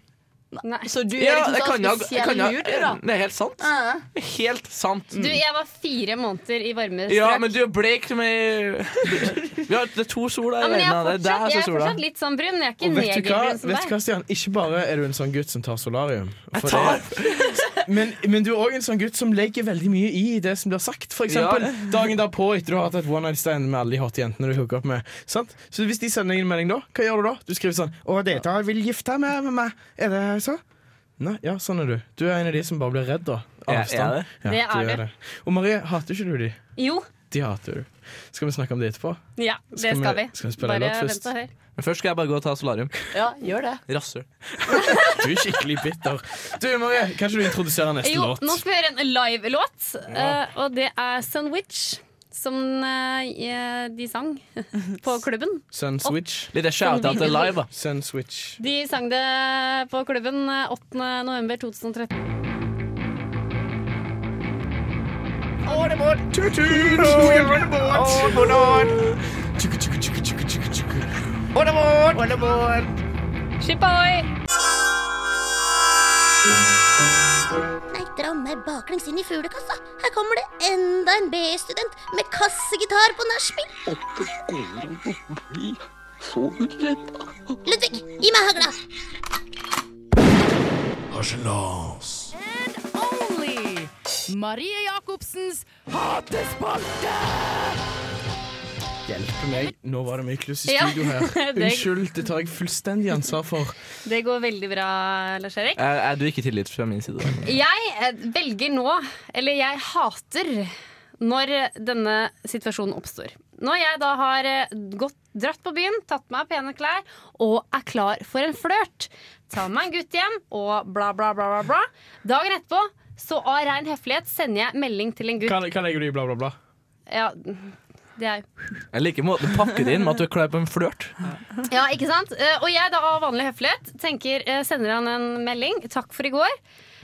Speaker 2: Nei.
Speaker 3: Så du er
Speaker 4: Ja,
Speaker 3: liksom
Speaker 4: jeg
Speaker 3: sånn
Speaker 4: kan jo jeg
Speaker 3: spesiell
Speaker 4: kan jo-
Speaker 3: hud, du, da.
Speaker 4: Det er helt sant.
Speaker 3: Ja.
Speaker 4: Helt sant.
Speaker 2: Du, jeg var fire måneder i varme strøk.
Speaker 4: Mm. Ja, men du er bleik med Vi har det er to sola
Speaker 2: Ja,
Speaker 4: i
Speaker 2: men jeg, er
Speaker 4: verden. Det er
Speaker 2: fortsatt,
Speaker 4: der
Speaker 2: jeg
Speaker 4: som
Speaker 2: er
Speaker 4: sola.
Speaker 2: fortsatt litt sånn brun. Jeg er ikke
Speaker 1: Og vet du hva,
Speaker 2: negerbrun som
Speaker 1: vet du
Speaker 2: deg.
Speaker 1: hva, Stian? Ikke bare er du en sånn gutt som tar solarium. For
Speaker 4: tar-
Speaker 1: det- Men, men du er òg en sånn gutt som legger veldig mye i det som blir sagt. For eksempel dagen derpå etter du har hatt et one night stand med alle de hotte jentene du hooker opp med. Sant? Så hvis de sender deg en melding da, hva gjør du da? Du skriver sånn 'Å, dette her vil gifte meg med meg'. Er det så? Nei, ja, sånn er du. Du er en av de som bare blir redd, da. Av
Speaker 4: Ja,
Speaker 1: avstand.
Speaker 4: er det?
Speaker 1: Ja,
Speaker 2: Det er
Speaker 1: du
Speaker 2: du.
Speaker 1: Og Marie, hater ikke du de?
Speaker 2: Jo,
Speaker 1: De hater du. Skal vi snakke om det etterpå?
Speaker 2: ja, det
Speaker 1: Skal
Speaker 2: skal,
Speaker 1: vi-
Speaker 2: vi.
Speaker 1: skal vi spille en
Speaker 2: Bare
Speaker 1: låt først?
Speaker 2: vent og hør.
Speaker 4: Men først skal jeg bare gå og ta solarium.
Speaker 3: Ja, gjør det.
Speaker 4: Rasshøl.
Speaker 1: Du er skikkelig bitter. Du, Marie, kan ikke du introdusere neste
Speaker 2: Jo,
Speaker 1: låt?
Speaker 2: nå skal vi høre en live-låt, eh, og det er Sunwitch. Som eh, de sang på klubben.
Speaker 1: Sun Switch.
Speaker 4: Litt shout-out til live, da.
Speaker 1: Sun Switch.
Speaker 2: De sang det på klubben eh, 8. november 2013. Shipahoi!
Speaker 5: Nei, dra meg baklengs inn i fuglekassa. Her kommer det enda en BI-student med kassegitar på nachspiel.
Speaker 11: Åtte går an å bli så uredda.
Speaker 5: Ludvig, gi meg hagla.
Speaker 9: Harselas.
Speaker 3: Only
Speaker 12: Marie Jacobsens hatespalte!
Speaker 1: Hjelp meg. Nå var det mye kluss i
Speaker 2: Ja,
Speaker 1: studio her.
Speaker 2: det-
Speaker 1: Unnskyld, det tar jeg fullstendig ansvar for.
Speaker 2: Det går veldig bra, Lars Erik.
Speaker 4: Er, er du ikke tillit fra min side?
Speaker 2: Jeg eh, velger nå, eller jeg hater, når denne situasjonen oppstår. Når jeg da har eh, gått, dratt på byen, tatt meg av pene klær og er klar for en flørt, tar meg en gutt hjem og bla, bla, bla, bla, bla. Dagen etterpå, så av rein høflighet, sender jeg melding til en gutt.
Speaker 1: Kan, kan jeg gi bla, bla, bla?
Speaker 2: Ja, det er jo
Speaker 4: Jeg liker måten du pakker det inn med at du er klar på en flørt.
Speaker 2: Ja, ikke sant? Eh, Og jeg da av vanlig høflighet tenker, eh, sender han en melding. Takk for i går.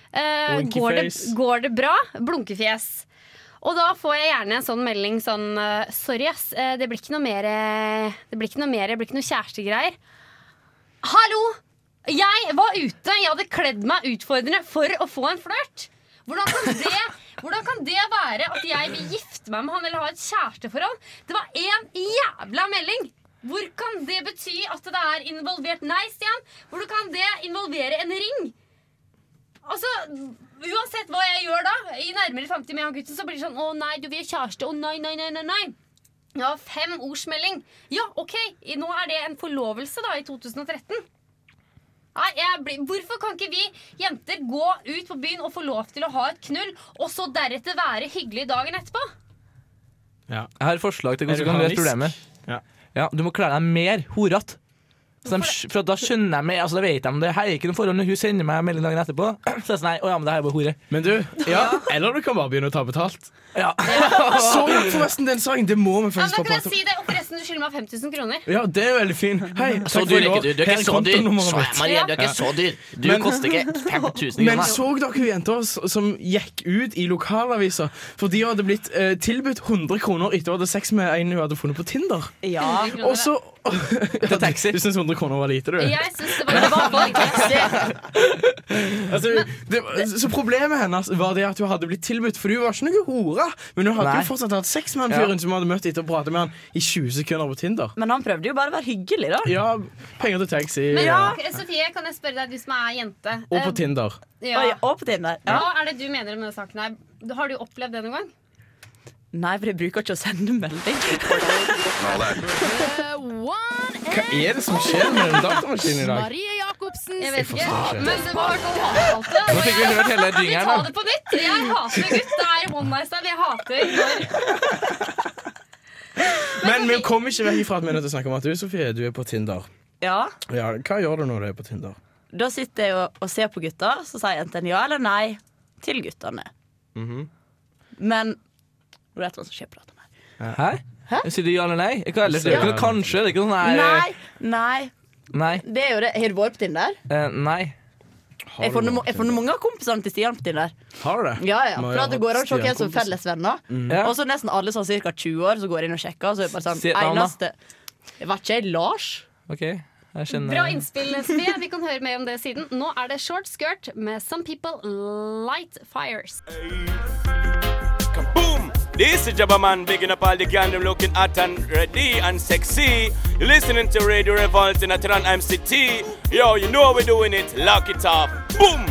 Speaker 2: Eh,
Speaker 5: Winky
Speaker 2: går, det,
Speaker 5: face.
Speaker 2: går det bra? Blunkefjes. Og da får jeg gjerne en sånn melding sånn eh, Sorry, ass. eh, Det blir ikke noe mer eh, Det blir ikke noe mer, det blir ikke noe kjærestegreier. Hallo! Jeg var ute, jeg hadde kledd meg utfordrende for å få en flørt. Hvordan kan, det, hvordan kan det være at jeg vil gifte meg med han eller ha et kjæresteforhold? Det var én jævla melding! Hvor kan det bety at det er involvert Nei, Stian! Hvordan kan det involvere en ring? Altså, Uansett hva jeg gjør da, i nærmere fremtid med han gutten, så blir det sånn Å nei, du vil ha kjæreste. Å nei, nei, nei, nei. nei. Ja, fem ordsmelding. Ja, OK, i- nå er det en forlovelse, da, i 2013. Nei, jeg blir, Hvorfor kan ikke vi jenter gå ut på byen og få lov til å ha et knull, og så deretter være hyggelig dagen etterpå?
Speaker 4: Jeg har et forslag til
Speaker 1: Er
Speaker 4: hvordan
Speaker 1: du
Speaker 4: du kan løse
Speaker 1: harmonisk?
Speaker 4: problemet. Ja. du må klære deg mer horete. Så de, skj- for da skjønner jeg meg, altså da vet de det. Her er ikke noe forhold når hun sender meg melding dagen etterpå. Så jeg sier nei, å ja, men det her er bare hore.
Speaker 1: Men du, ja, eller du kan bare begynne å ta betalt.
Speaker 4: Ja.
Speaker 1: Så forresten den sangen, det må vi
Speaker 2: Ja,
Speaker 1: faktisk
Speaker 2: da
Speaker 1: bare
Speaker 2: kan jeg
Speaker 1: prate om.
Speaker 2: si det, og forresten, du skylder meg 5000 kroner.
Speaker 1: Ja, det er veldig fin. Hei,
Speaker 4: Så
Speaker 1: takk for
Speaker 4: dyr
Speaker 1: i år.
Speaker 4: er ikke du. Du er
Speaker 1: Her
Speaker 4: ikke så dyr.
Speaker 1: kontonummeret
Speaker 4: Så,
Speaker 1: mitt.
Speaker 4: Maria, du er ikke
Speaker 1: Ja.
Speaker 4: så dyr. Du koster ikke 5000 kroner.
Speaker 1: Men så dere hun jenta s- som gikk ut i lokalaviser fordi hun hadde blitt eh, tilbudt 100 kroner etter hun hadde sex med en hun hadde funnet på Tinder?
Speaker 3: Ja.
Speaker 2: 100 kroner.
Speaker 1: Og så Til taxi. Du syns 100 kroner var lite, du?
Speaker 2: Jeg syns det var det var bare taxi.
Speaker 1: Altså, det, så problemet hennes var det at hun hadde blitt tilbudt, for hun var ikke noe hore. Men hun hadde
Speaker 3: Nei.
Speaker 1: jo fortsatt hatt sex med han
Speaker 3: Ja.
Speaker 1: fyren som hun hadde møtt etter å prate med han i 20 sekunder på Tinder.
Speaker 3: Men han prøvde jo bare å være hyggelig, da.
Speaker 1: Ja, penger til taxi.
Speaker 2: Men
Speaker 1: ja.
Speaker 2: ja. Sofie, kan jeg spørre deg, du som er jente.
Speaker 1: Og
Speaker 2: eh,
Speaker 1: på Tinder.
Speaker 2: Ja.
Speaker 3: Oi, og på Tinder. Ja.
Speaker 2: Hva er det du mener om denne saken her? Har du opplevd det noen gang?
Speaker 3: Nei, for jeg bruker ikke å sende melding.
Speaker 1: Hva er det som skjer med den datamaskinen i dag?
Speaker 12: Marie Jacobsens
Speaker 2: Jeg vet ikke.
Speaker 1: forstår ikke.
Speaker 2: Men det var i hvert fall hatet.
Speaker 1: Nå fikk vi hørt hele
Speaker 2: Vi
Speaker 1: jingeren,
Speaker 2: tar
Speaker 1: da.
Speaker 2: det på nytt. Jeg hater gutt. Det er one night stand. Jeg hater når
Speaker 1: Men vi kom ikke vekk ifra at vi er nødt til å snakke om at du, Sofie, du er på Tinder.
Speaker 3: Ja.
Speaker 1: Ja, hva gjør du når du er på Tinder?
Speaker 3: Da sitter jeg og, og ser på gutta, så sier jeg enten ja eller nei til guttene. Men Det er et eller annet som skjer på dataen.
Speaker 4: Hæ? Sier du ja eller nei? Hva ellers? Det er jo ikke noe kanskje? Det er ikke noe sånn her
Speaker 3: Nei, nei.
Speaker 4: Nei.
Speaker 3: Det er jo det. Har du vært på Tinder?
Speaker 4: Eh, nei.
Speaker 3: Jeg får noe- jeg får noe mange av kompisene til Stian på Tinder.
Speaker 1: Har du det?
Speaker 3: Ja, ja, for at det går an å se hvem som er fellesvenner.
Speaker 4: Mm. Ja.
Speaker 3: Og så nesten alle sånn ca. 20 år Så går jeg inn og sjekker. Og så er det bare sånn
Speaker 4: Si et navn, da.
Speaker 3: eneste Jeg vet ikke, jeg, Lars?
Speaker 4: OK, jeg kjenner
Speaker 2: Bra innspill, Sofie. Vi kan høre mer om det siden. Nå er det short skirt med Some People Light Fires.
Speaker 13: Boom! This is Jabba Man bigging up all the gandom looking hot and ready and sexy. You're listening to Radio Revolt in Atran MCT. Yo, you know how we're doing it. Lock it up. Boom!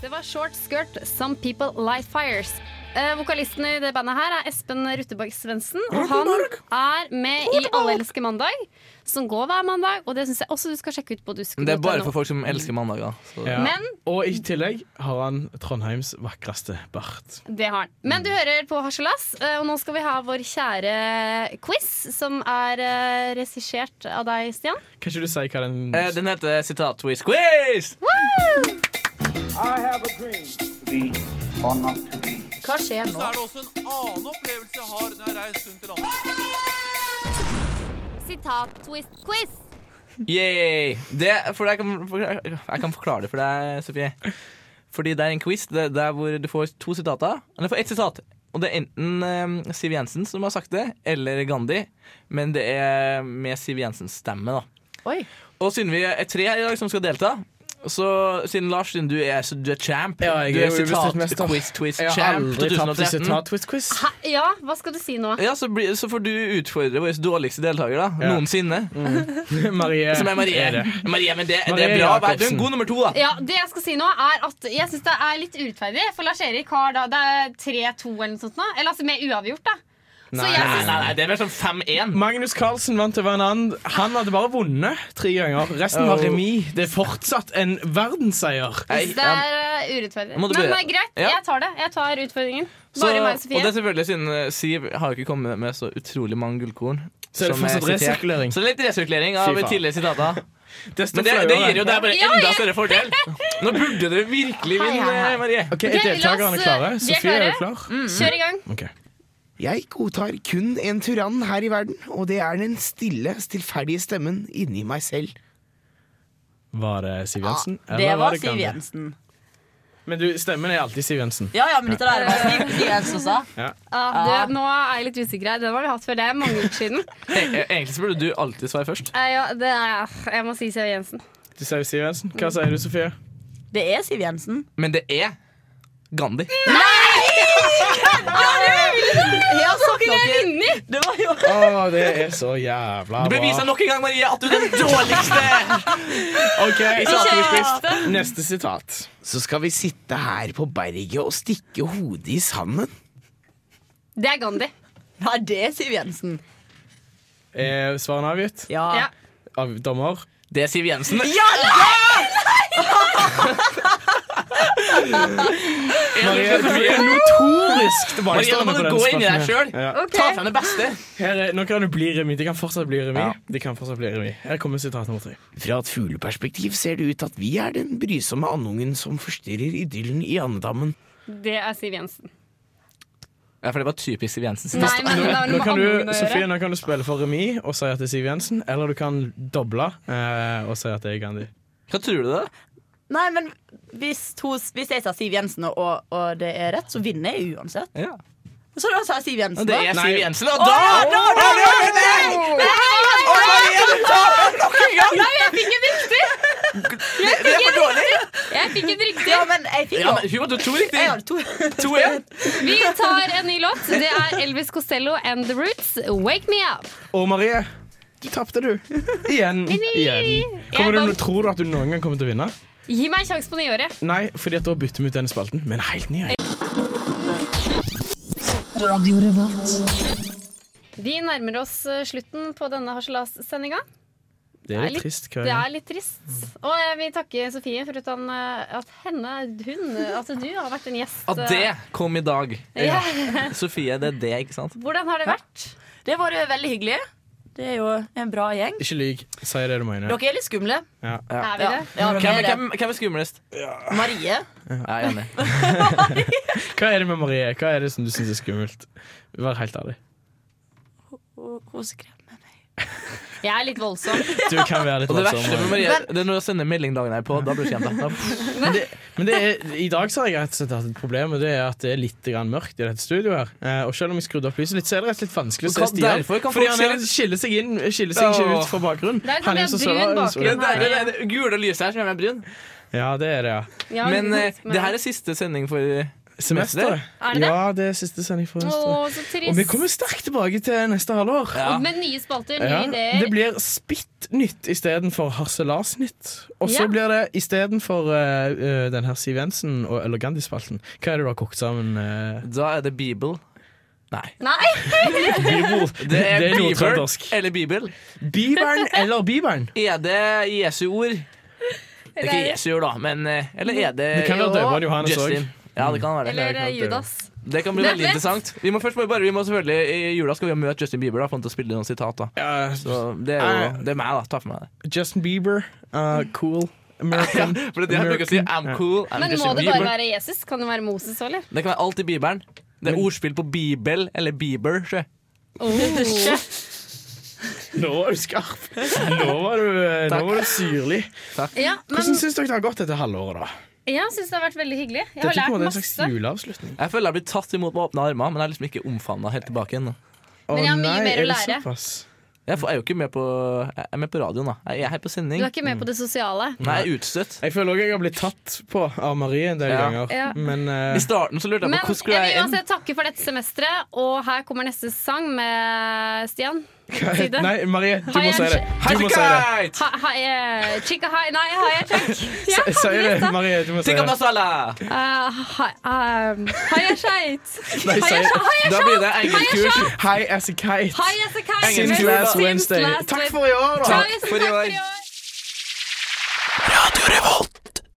Speaker 2: Det var short skirt Some People Light Fires. Eh, vokalisten i det bandet her er Espen Rutteborg Svendsen. Og han er med i Alle elsker mandag, som går hver mandag. Og det syns jeg også du skal sjekke ut på dusk.no.
Speaker 4: Det er bare for folk som elsker mandager. så-
Speaker 1: Ja.
Speaker 2: Men-
Speaker 1: Og i tillegg har han Trondheims vakreste bart.
Speaker 2: Det har han. Men du hører på Harselas, eh, og nå skal vi ha vår kjære quiz, som er eh, regissert av deg, Stian.
Speaker 1: Kan ikke du si hva den
Speaker 4: Eh, den heter sitat Twist Quiz!
Speaker 3: Hva skjer nå?
Speaker 14: Så er det også en annen opplevelse jeg har når jeg reiser rundt i landet.
Speaker 5: Sitat-twist-quiz.
Speaker 4: Yay! Det, for jeg, kan forklare, jeg kan forklare det for deg, Sofie. Fordi det er en quiz det, det er hvor du får to sitater. Eller du får ett sitat. Og det er enten eh, Siv Jensen som har sagt det, eller Gandhi. Men det er med Siv Jensens stemme, da.
Speaker 3: Oi.
Speaker 4: Og siden vi er tre her i dag som skal delta, Og så, siden Lars, siden du er, så du er champ
Speaker 1: jeg
Speaker 4: Du
Speaker 1: er
Speaker 4: er
Speaker 1: jo
Speaker 4: sitat-quiz-quiz-champ
Speaker 1: ubestridt mester. Jeg har aldri tapt i sitat-quiz-quiz.
Speaker 2: Hæ? Ja, hva skal du si nå?
Speaker 4: Ja, så, blir- så får du utfordre vår dårligste deltaker da,
Speaker 1: Ja.
Speaker 4: noensinne.
Speaker 1: Marie
Speaker 4: Ah. Som er Marie.
Speaker 1: er det.
Speaker 4: Marie men det, det
Speaker 1: Marie
Speaker 4: er bra. Vær- Du er
Speaker 1: Jacobsen.
Speaker 4: en god nummer to, da.
Speaker 2: Ja, det jeg skal si nå er at Jeg syns det er litt urettferdig, for Lars-Erik har da Det er 3-2 eller noe sånt nå. Eller altså med uavgjort, da.
Speaker 1: Nei,
Speaker 2: jeg
Speaker 1: nei,
Speaker 2: synes-
Speaker 1: nei,
Speaker 4: det er mer sånn 5-1.
Speaker 1: Magnus Carlsen vant over en annen. Han hadde bare vunnet tre ganger. Resten var
Speaker 4: Oh.
Speaker 1: remis. Det er fortsatt en verdensseier.
Speaker 2: Jeg synes det er eh, urettferdig.
Speaker 4: Må
Speaker 2: Men
Speaker 4: du be-
Speaker 2: nei, greit,
Speaker 4: Ja.
Speaker 2: jeg tar det. Jeg tar utfordringen.
Speaker 4: Så,
Speaker 2: Bare meg og
Speaker 4: og det
Speaker 2: Sofie.
Speaker 4: er selvfølgelig siden eh, Siv har jo ikke kommet med så utrolig mange gullkorn.
Speaker 1: Så er det
Speaker 4: som er
Speaker 1: fortsatt
Speaker 4: sitert.
Speaker 1: resirkulering.
Speaker 4: Så det er litt resirkulering av
Speaker 1: Fy faen.
Speaker 4: tidligere sitater.
Speaker 1: Desto
Speaker 4: Men det, det
Speaker 1: flauere.
Speaker 4: gir jo deg bare
Speaker 2: Ja,
Speaker 4: enda
Speaker 2: jeg-
Speaker 4: større fordel. Nå burde du virkelig
Speaker 2: Hei,
Speaker 4: vinne,
Speaker 2: hei, hei.
Speaker 4: Marie.
Speaker 1: Ok, er
Speaker 3: eh,
Speaker 1: deltakerne klare?
Speaker 2: vi
Speaker 1: Sofie, er du
Speaker 2: klare.
Speaker 1: klar?
Speaker 2: Mm. Kjør i gang.
Speaker 15: Jeg godtar kun en tyrann her i verden, og det er den stille, stillferdige stemmen inni meg selv.
Speaker 1: Var det Siv Jensen?
Speaker 3: Ja, Ah, det
Speaker 1: eller
Speaker 3: var
Speaker 1: det
Speaker 3: Siv
Speaker 1: Gandhi?
Speaker 3: Jensen.
Speaker 1: Men du, stemmen er alltid Siv Jensen.
Speaker 3: Ja, ja, men dette der var Siv Siv Jensen sa.
Speaker 1: Ja.
Speaker 2: Ja, du, nå er jeg litt usikker her. Den har vi hatt før. Det er mange uker siden.
Speaker 4: E- e- Egentlig så burde du alltid svare først.
Speaker 2: Eh, ja, det er, jeg må si Siv Jensen.
Speaker 1: Du sier Siv Jensen. Hva sier du, Sofie?
Speaker 3: Det er Siv Jensen.
Speaker 4: Men det er Gandhi.
Speaker 3: Ja, så
Speaker 2: kunne jeg vunnet!
Speaker 3: Det var jo
Speaker 1: Å, det er så jævla
Speaker 4: Du
Speaker 1: bra.
Speaker 4: beviser nok en gang, Marie, at du er den dårligste!
Speaker 1: Ok,
Speaker 15: Kjeft!
Speaker 1: Neste sitat.
Speaker 15: Så skal vi sitte her på berget og stikke hodet i sanden.
Speaker 2: Det er Gandhi.
Speaker 3: Nei, det er Siv Jensen.
Speaker 1: Er svarene avgitt?
Speaker 3: Ja. Ja.
Speaker 1: Av dommer?
Speaker 4: Det er Siv Jensen.
Speaker 3: Ja,
Speaker 1: Marie, du er notorisk
Speaker 4: Marie, nå
Speaker 1: tilbakestående
Speaker 4: må
Speaker 1: på
Speaker 4: du
Speaker 1: den
Speaker 4: gå inn i deg
Speaker 1: spalten
Speaker 4: sjøl.
Speaker 1: her. Ja.
Speaker 4: Ta frem det beste.
Speaker 1: Her er, nå kan det bli remis. Det kan fortsatt bli remis. Det kan fortsatt bli remis. Her kommer sitat nummer tre.
Speaker 15: Fra et fugleperspektiv ser det ut til at vi er den brysomme andungen som forstyrrer idyllen i andedammen.
Speaker 2: Det er Siv Jensen.
Speaker 4: Ja, for det var typisk Siv Jensen.
Speaker 2: Nei, men det har
Speaker 1: Nå
Speaker 2: noe
Speaker 1: kan
Speaker 2: med
Speaker 1: du,
Speaker 2: andungen å
Speaker 1: Sofie,
Speaker 2: gjøre.
Speaker 1: nå kan du spille for remis og si at det er Siv Jensen, eller du kan doble eh, og si at det er Gandhi.
Speaker 4: Hva tror du, da?
Speaker 3: Nei, men hvis, to, hvis jeg sa Siv Jensen, og, og det er rett, så vinner jeg uansett. Så da sa jeg Siv Jensen.
Speaker 4: Det
Speaker 3: da.
Speaker 4: er Siv Jensen, og
Speaker 3: Å,
Speaker 4: da
Speaker 3: ja, da, da, da, da, da.
Speaker 4: Nei! Å, Marie, du taper nok en gang!
Speaker 2: Nei, jeg fikk en riktig! Jeg
Speaker 4: Det er
Speaker 2: fikk
Speaker 4: for
Speaker 2: en
Speaker 4: dårlig.
Speaker 2: riktig! Jeg fikk en riktig.
Speaker 3: Ja, men jeg fikk
Speaker 4: Ja,
Speaker 3: jo
Speaker 4: men hun hadde to riktig.
Speaker 3: Jeg hadde to.
Speaker 4: 2-1.
Speaker 2: Vi tar en ny låt. Det er Elvis Costello and The Roots, 'Wake Me Up'.
Speaker 1: Og Marie, du tapte, du. Igjen. Igjen. Kommer du,
Speaker 2: Jeg vant.
Speaker 1: tror du at du noen gang kommer til å vinne?
Speaker 2: Gi meg en sjanse på nyåret.
Speaker 1: Nei, fordi at da bytter vi ut denne spalten med en helt ny. en.
Speaker 2: Vi nærmer oss eh, slutten på denne harselassendinga.
Speaker 1: Det er litt trist. Hva
Speaker 2: Det er litt trist.
Speaker 1: Mm.
Speaker 2: Og jeg vil takke Sofie for at, han, eh, at henne, hun, at du har vært en gjest. eh,
Speaker 4: At det kom i dag.
Speaker 2: Ja.
Speaker 4: Sofie, det er det, ikke sant?
Speaker 2: Hvordan har det vært?
Speaker 3: Det var jo veldig hyggelig. Det er jo en bra gjeng.
Speaker 1: Ikke lyg. Si det du mener.
Speaker 3: Dere er litt skumle.
Speaker 1: Ja.
Speaker 3: Er vi det? Ja,
Speaker 4: Hvem,
Speaker 3: vi er det.
Speaker 4: hvem, hvem er skumlest?
Speaker 3: Marie.
Speaker 4: Jeg er enig.
Speaker 1: Hva er det med Marie? Hva er det som du syns er skummelt? Vær helt ærlig.
Speaker 3: Hun hun skremmer.
Speaker 2: Jeg er litt voldsom.
Speaker 1: Du kan være litt
Speaker 4: Og det
Speaker 1: voldsom,
Speaker 4: verste med Marie,
Speaker 1: Marie.
Speaker 4: det er når jeg sender melding dagen her på. Da blir du kjent. da.
Speaker 1: Men, det, men det er, i dag så har jeg rett og slett hatt et problem, og det er at det er litt grann mørkt i dette studioet. her. Eh, og selv om jeg skrudde opp lyset litt, så er det rett og slett vanskelig å
Speaker 4: Og
Speaker 1: se
Speaker 4: hva-
Speaker 1: Stian.
Speaker 4: derfor kan
Speaker 1: Fordi
Speaker 4: folk
Speaker 1: han
Speaker 4: se
Speaker 1: er-
Speaker 4: litt-
Speaker 1: skiller seg inn, skiller seg ikke ut fra bakgrunnen.
Speaker 2: Det er sånn fordi
Speaker 1: Han
Speaker 2: det er
Speaker 1: så
Speaker 2: brun
Speaker 1: sørlands-
Speaker 2: bakgrunn
Speaker 4: Det,
Speaker 2: her.
Speaker 4: det, det, det gule lyset her som gjør meg brun.
Speaker 1: Ja, det er det, ja.
Speaker 2: Ja,
Speaker 4: Men eh,
Speaker 2: men-
Speaker 4: det her er siste sending for eh,
Speaker 1: Semester?
Speaker 2: Er det det?
Speaker 1: Ja, det er siste sending for
Speaker 2: Å,
Speaker 1: semester.
Speaker 2: så
Speaker 1: Og vi
Speaker 2: trist.
Speaker 1: kommer sterkt tilbake til neste halvår.
Speaker 2: Og Med nye spalter, nye
Speaker 1: Ja,
Speaker 2: ideer.
Speaker 1: Det blir Spitt-nytt istedenfor Harselas-nytt. Og så
Speaker 2: Ja.
Speaker 1: blir det istedenfor uh, den her Siv Jensen og eller Gandhi-spalten. Hva er det du har kokt sammen? eh?
Speaker 4: Da er det Bibel. Nei.
Speaker 2: Nei!
Speaker 1: Bibel.
Speaker 4: Det er,
Speaker 1: Det er
Speaker 4: Bibel
Speaker 1: nordtrøndersk.
Speaker 4: eller Bibel.
Speaker 1: Bibelen eller Bibelen?
Speaker 4: Er det Jesu ord? Det er ikke Jesu ord, da, men eh, Eller er det
Speaker 1: Det kan være døperen Johannes
Speaker 4: Justin?
Speaker 1: også.
Speaker 4: Ja, det kan være det.
Speaker 2: Eller eh, Judas.
Speaker 4: Det kan bli
Speaker 2: Det er
Speaker 4: veldig
Speaker 2: fett.
Speaker 4: interessant. Vi må først bare, vi må selvfølgelig I jula skal vi jo møte Justin Bieber, da, for han til å spille noen sitat. da Så det er jo
Speaker 1: Eh.
Speaker 4: Det er meg, da. Ta for meg det.
Speaker 1: Justin Bieber, uh, cool, American.
Speaker 4: Ja, for det er det jeg bruker å si. I'm
Speaker 1: Ja.
Speaker 4: cool, I'm
Speaker 2: Men
Speaker 4: Justin
Speaker 2: må det bare
Speaker 4: Bieber.
Speaker 2: være Jesus? Kan det være Moses òg, eller?
Speaker 4: Det kan være alt i Bibelen. Det er ordspill på Bibel eller Bieber. Sjø.
Speaker 2: Oh.
Speaker 1: Nå var du skarp! Nå var du, eh, nå var du syrlig.
Speaker 2: Ja, men-
Speaker 1: Hvordan syns dere det har gått dette halvåret, da?
Speaker 2: Jeg syns det har vært veldig hyggelig. Jeg
Speaker 1: Dette
Speaker 2: har
Speaker 1: på en måte er
Speaker 2: lært
Speaker 1: en slags
Speaker 2: masse.
Speaker 1: juleavslutning.
Speaker 4: Jeg føler jeg blir tatt imot med åpne armer, men jeg er liksom ikke omfavna helt tilbake ennå.
Speaker 2: Men jeg har mye mer å lære.
Speaker 4: Jeg får- jeg er jo ikke med på Jeg er med på radioen, da. Jeg er her på
Speaker 2: Du
Speaker 4: sending.
Speaker 2: er ikke med på det sosiale?
Speaker 4: Nei, jeg er utstøtt.
Speaker 1: Jeg føler òg jeg har blitt tatt på av Marie en del
Speaker 4: Ja.
Speaker 1: ganger.
Speaker 2: Ja.
Speaker 1: Men eh,
Speaker 4: I starten så lurte jeg
Speaker 2: Men
Speaker 4: på hvordan
Speaker 2: jeg
Speaker 4: skulle
Speaker 2: vil
Speaker 4: jeg inn?
Speaker 2: uansett takke for dette semesteret, og her kommer neste sang med Stian. Si det.
Speaker 1: Nei, Marie, du
Speaker 2: Hi,
Speaker 1: må si det.
Speaker 2: Hi,
Speaker 1: Du må si det.
Speaker 2: Ha, ha, eh, chica hi, nei, hi, jeg check. Ja,
Speaker 1: Si- Si
Speaker 2: visst
Speaker 1: det,
Speaker 2: da.
Speaker 1: Marie. Du må si det.
Speaker 4: Tikka masala!
Speaker 2: Eh, hi, um, hi, jeg skeit.
Speaker 1: Nei,
Speaker 2: Hi,
Speaker 1: si
Speaker 2: jeg- hi, jeg
Speaker 1: Da blir det
Speaker 2: skeit. Hi, jeg
Speaker 1: engelskkurs.
Speaker 2: skeit.
Speaker 1: High as a kite.
Speaker 2: Hi, jeg
Speaker 1: Since
Speaker 2: skeit. Since
Speaker 1: last
Speaker 2: last
Speaker 1: Wednesday. Takk for i år, da.
Speaker 2: Tusen Takk for i år.